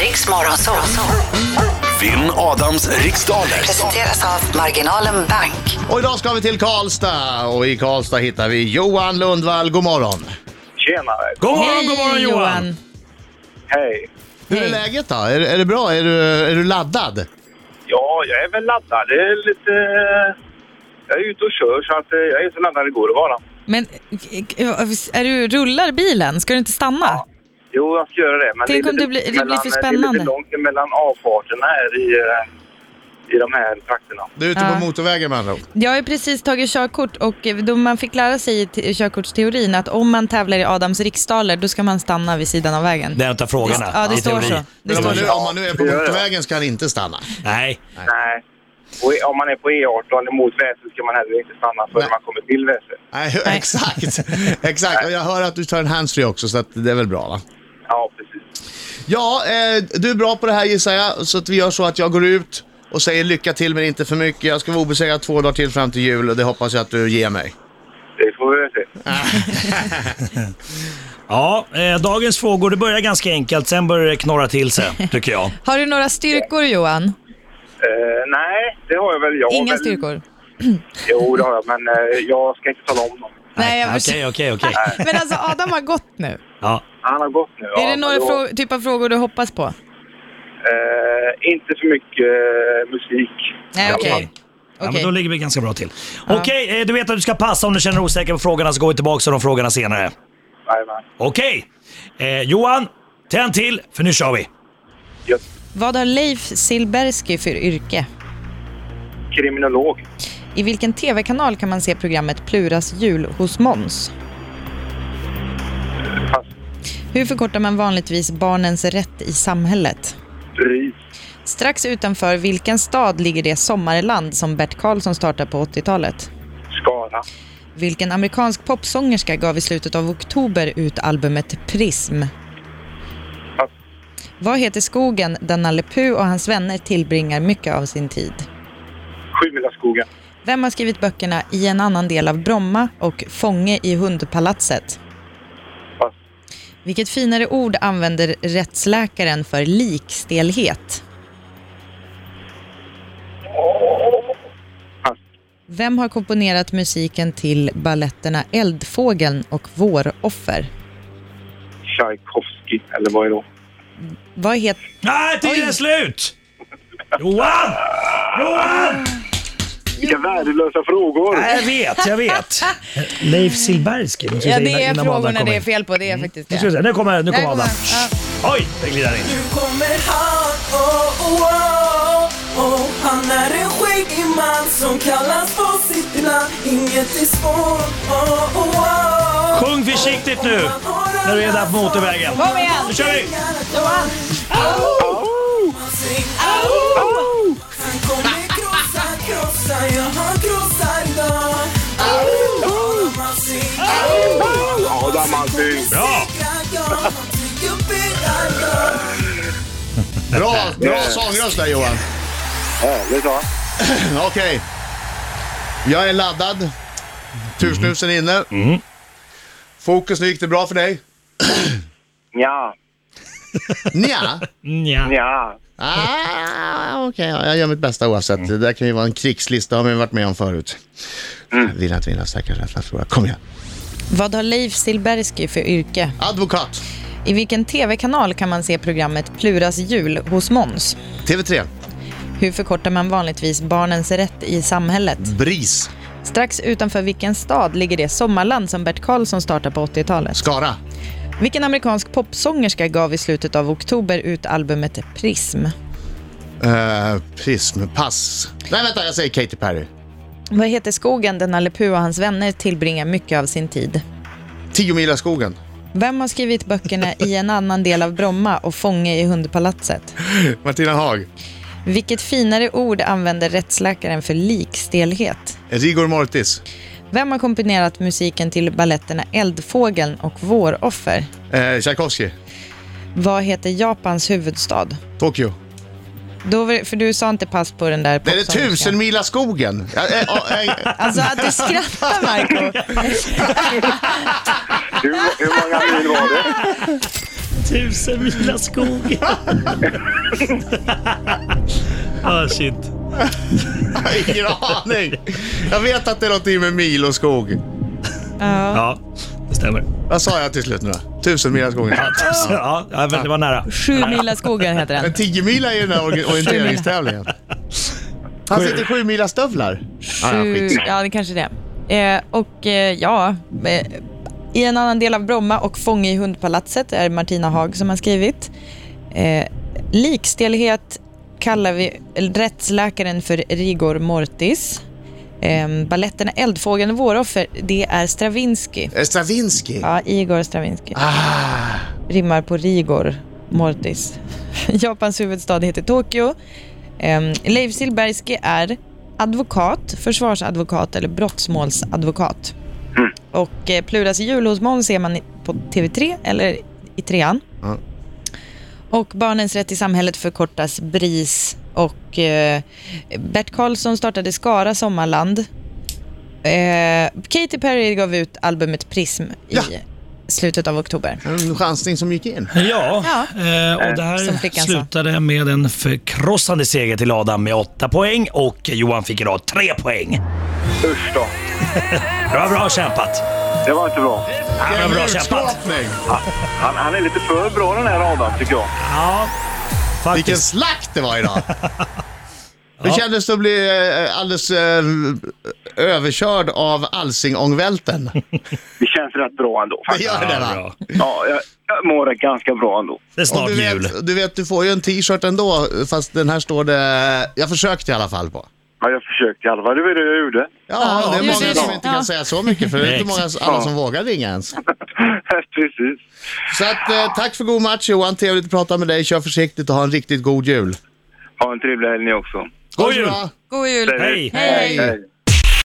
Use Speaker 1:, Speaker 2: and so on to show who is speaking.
Speaker 1: Riks Morgonzoo.
Speaker 2: Vinn Adams riksdaler.
Speaker 1: Presenteras av Marginalen Bank.
Speaker 3: Och idag ska vi till Karlstad och i Karlstad hittar vi Johan Lundvall. God morgon!
Speaker 4: Tjenare!
Speaker 5: God morgon, god morgon Johan!
Speaker 4: Hej!
Speaker 3: Hur är läget då? Är, är det bra? Är du, är du laddad?
Speaker 4: Ja, jag är väl laddad. Det är lite... eh, Jag är ute och kör så att eh, jag är så laddad det går att vara.
Speaker 5: Men eh, är du, rullar bilen? Ska du inte stanna?
Speaker 4: Jo, jag ska göra det. Men
Speaker 5: Tänk om det blir- det blir för
Speaker 4: eh, Det är
Speaker 5: spännande.
Speaker 4: lite långt mellan avfarterna här i, eh, i de här trakterna.
Speaker 3: Du är ute
Speaker 5: Ja.
Speaker 3: på motorvägen med andra ord.
Speaker 5: Jag har ju precis tagit körkort och eh, då man fick lära sig i te- körkortsteorin att om man tävlar i Adams riksdaler då ska man stanna vid sidan av vägen.
Speaker 6: Det är en av frågorna.
Speaker 5: Ja, det
Speaker 6: i
Speaker 5: står
Speaker 6: teori.
Speaker 5: så. Det
Speaker 3: Men om
Speaker 5: står
Speaker 3: man, nu,
Speaker 5: så.
Speaker 3: om man nu är på
Speaker 4: Ja, ja.
Speaker 3: motorvägen ska han inte stanna.
Speaker 6: Nej,
Speaker 4: Nej. Och i- om man är på E18 mot Väsö ska man heller inte stanna förrän
Speaker 3: Nej.
Speaker 4: man kommer till Väsö.
Speaker 3: Nej,
Speaker 5: Nej.
Speaker 3: exakt. exakt. Och jag hör att du tar en handsfree också så att det är väl bra va?
Speaker 4: Ja, precis.
Speaker 3: Ja, eh, du är bra på det här gissar jag så att vi gör så att jag går ut och säger lycka till men inte för mycket. Jag ska vara obesegrad två dagar till fram till jul och det hoppas jag att du ger mig.
Speaker 4: Det får vi väl se.
Speaker 6: ja, eh, dagens frågor, det börjar ganska enkelt, sen börjar det knorra till sig, tycker jag.
Speaker 5: Har du några styrkor Johan?
Speaker 4: Eh, nej, det har jag väl. Jag har
Speaker 5: Inga
Speaker 4: väl,
Speaker 5: styrkor?
Speaker 4: Jo, det har jag, men eh, jag ska inte tala om dem.
Speaker 5: Nej, jag
Speaker 6: Okej, okej, okej.
Speaker 5: Men alltså Adam har gått nu.
Speaker 6: Ja.
Speaker 4: Han har gått nu.
Speaker 5: är
Speaker 4: ja,
Speaker 5: det
Speaker 4: men
Speaker 5: några
Speaker 4: då-
Speaker 5: frå- typ av frågor du hoppas på?
Speaker 4: Eh, inte för mycket eh, musik.
Speaker 5: Nej, okej.
Speaker 6: Okej. Ja, men
Speaker 5: Okej.
Speaker 6: då ligger vi ganska bra till. Okej, eh, du vet att du ska passa om du känner dig osäker på frågorna så går vi tillbaka till de frågorna senare.
Speaker 4: Jajamän.
Speaker 6: Okej, eh, Johan, tänd till för nu kör vi.
Speaker 4: Gött.
Speaker 5: Vad har Leif Silbersky för yrke?
Speaker 4: Kriminolog.
Speaker 5: I vilken tv-kanal kan man se programmet Pluras jul hos Måns?
Speaker 4: Pass.
Speaker 5: Hur förkortar man vanligtvis barnens rätt i samhället?
Speaker 4: Bris.
Speaker 5: Strax utanför vilken stad ligger det sommarland som Bert Karlsson startade på 80-talet?
Speaker 4: Skara.
Speaker 5: Vilken amerikansk popsångerska gav i slutet av oktober ut albumet Prism?
Speaker 4: Pass.
Speaker 5: Vad heter skogen där Nalle Puh och hans vänner tillbringar mycket av sin tid?
Speaker 4: Sjumilaskogen.
Speaker 5: Vem har skrivit böckerna I en annan del av Bromma och Fånge i hundpalatset?
Speaker 4: Pass.
Speaker 5: Vilket finare ord använder rättsläkaren för likstelhet?
Speaker 4: Pass.
Speaker 5: Vem har komponerat musiken till balletterna Eldfågeln och Våroffer?
Speaker 4: Tchaikovsky, eller vad är det?
Speaker 5: Vad heter...
Speaker 6: Nej, tiden är slut! Johan! Johan!
Speaker 4: Vilka värdelösa frågor!
Speaker 6: Nej, jag vet, jag vet. Leif Silbersky. måste vi säga innan- innan Adam kommer in.
Speaker 5: fel på. Det är faktiskt
Speaker 6: Nu ska vi se, Nu kommer, nu kommer Adam. Oj, det glider in.
Speaker 7: Nu kommer han, oh, oh, oh, oh. Han är en skäggig man som kallas på sitt namn Inget är svårt, oh, oh, oh.
Speaker 6: Sjung försiktigt nu, när du är där på motorvägen.
Speaker 5: Kom igen!
Speaker 6: Nu kör vi!
Speaker 7: Johan! Au! Han kommer krossa, krossa, ja han krossar idag Au!
Speaker 4: Ja, där man syns.
Speaker 6: Bra!
Speaker 3: Bra, bra sångröst där Johan.
Speaker 4: Härligt, va?
Speaker 3: Mm, Okej. Jag är laddad. Tursnusen är inne. Fokus, nu gick det bra för dig?
Speaker 4: Nja,
Speaker 3: Nja.
Speaker 6: Nja.
Speaker 4: nja.
Speaker 3: Ah, Okej, ja, jag gör mitt bästa oavsett. Det där kan ju vara en krigslista, har vi varit med om förut. Vinna, att vinna, säkra, rädsla, förlora. Kom igen.
Speaker 5: Vad har Leif Silbersky för yrke?
Speaker 3: Advokat.
Speaker 5: I vilken tv-kanal kan man se programmet Pluras jul hos Måns?
Speaker 3: TV3.
Speaker 5: Hur förkortar man vanligtvis barnens rätt i samhället?
Speaker 3: BRIS.
Speaker 5: Strax utanför vilken stad ligger det sommarland som Bert Karlsson startade på 80-talet?
Speaker 3: Skara.
Speaker 5: Vilken amerikansk popsångerska gav i slutet av oktober ut albumet Prism?
Speaker 3: Eh, prism. Pass. Nej, vänta, jag säger Katy Perry.
Speaker 5: Vad heter skogen där Nalle Puh och hans vänner tillbringar mycket av sin tid?
Speaker 3: Tio mila skogen.
Speaker 5: Vem har skrivit böckerna I en annan del av Bromma och Fånge i hundpalatset?
Speaker 3: Martina Haag.
Speaker 5: Vilket finare ord använder rättsläkaren för likstelhet?
Speaker 3: Rigor Mortis.
Speaker 5: Vem har komponerat musiken till balletterna Eldfågeln och Våroffer?
Speaker 3: Eh, Tchaikovsky.
Speaker 5: Vad heter Japans huvudstad?
Speaker 3: Tokyo.
Speaker 5: Då var, det- för du sa inte pass på den där
Speaker 3: Det är det
Speaker 5: popsångerskan.
Speaker 3: tusen mila skogen. Ja, eh, ja, eh,
Speaker 5: Alltså att du skrattar Marco
Speaker 4: Hur, hur många mil var det?
Speaker 6: tusen mina skog. ah shit.
Speaker 3: Ingen aning. Jag vet att det är någonting med mil och skog.
Speaker 5: Ja.
Speaker 6: Ja, det stämmer.
Speaker 3: Vad sa jag till slut nu då? Tusen mil skogen.
Speaker 6: Så, ja, ja, men det var nära.
Speaker 5: Sju mila skogar heter den.
Speaker 3: Men tio mil är ju den här orga- orienteringstävlingen. Han sitter i sju mila stövlar. Ja, ja,
Speaker 5: Sju,
Speaker 3: skitsamma.
Speaker 5: ja, det kanske är det. Eh, och eh, ja, eh, i en annan del av Bromma och Fånge i hundpalatset är Martina Haag som har skrivit. Eh, likstelhet kallar vi rättsläkaren för rigor mortis. Eh, balletterna Eldfågeln och Våroffer, det är Stravinsky.
Speaker 3: Eh, Stravinsky.
Speaker 5: Ja, Igor Stravinsky. Rimmar på Rigor Mortis. Japans huvudstad heter Tokyo. Ehm, Leif Silbersky är advokat, försvarsadvokat eller brottsmålsadvokat. Och eh, Pluras jul hos Måns ser man i- på TV3 eller i trean.
Speaker 3: Mm.
Speaker 5: Och Barnens rätt i samhället förkortas BRIS. Och eh, Bert Karlsson startade Skara Sommarland. Eh, Katy Perry gav ut albumet Prism
Speaker 3: Ja.
Speaker 5: i slutet av oktober.
Speaker 3: En chansning som gick in.
Speaker 6: Ja,
Speaker 5: Ja.
Speaker 6: eh, och det
Speaker 5: Som
Speaker 6: här
Speaker 5: flickan sa.
Speaker 6: slutade med en förkrossande seger till Adam med 8 poäng och Johan fick idag 3 poäng.
Speaker 4: Usch då.
Speaker 6: Bra, bra kämpat.
Speaker 4: Det var inte bra.
Speaker 6: Ja, bra kämpat.
Speaker 3: Utskåpning.
Speaker 4: Han, han är lite för bra den här Adam tycker jag.
Speaker 6: Ja,
Speaker 3: Vilken
Speaker 6: faktiskt.
Speaker 3: slakt det var idag. Hur kändes det att bli eh, alldeles eh, överkörd av Alsing-ångvälten?
Speaker 4: Det känns rätt bra ändå
Speaker 3: Det
Speaker 4: faktiskt.
Speaker 3: gör det
Speaker 6: Ja,
Speaker 3: va?
Speaker 6: bra.
Speaker 4: Ja, jag, jag mår rätt ganska bra ändå.
Speaker 6: Det är
Speaker 3: Och
Speaker 6: snart
Speaker 3: du,
Speaker 6: jul.
Speaker 3: vet, du vet, du får ju en t-shirt ändå, fast den här står det... Jag försökte i alla fall på.
Speaker 4: Ja, jag försökte i alla fall. Det var det jag gjorde.
Speaker 3: Ja,
Speaker 5: Ja,
Speaker 3: det är
Speaker 5: du
Speaker 3: många
Speaker 5: ser
Speaker 3: som
Speaker 5: det.
Speaker 3: inte
Speaker 5: Ja.
Speaker 3: kan säga så mycket, för det är inte många,
Speaker 6: Exakt.
Speaker 3: alla som vågar ringa ens.
Speaker 4: Precis.
Speaker 3: Så att, eh, tack för god match Johan, trevligt att prata med dig. Kör försiktigt och ha en riktigt god jul.
Speaker 4: Ha en trevlig helg ni också.
Speaker 3: Ha det
Speaker 6: God
Speaker 3: så
Speaker 6: jul.
Speaker 3: bra.
Speaker 5: God jul!
Speaker 6: Hej!
Speaker 3: Hej.
Speaker 4: Hej.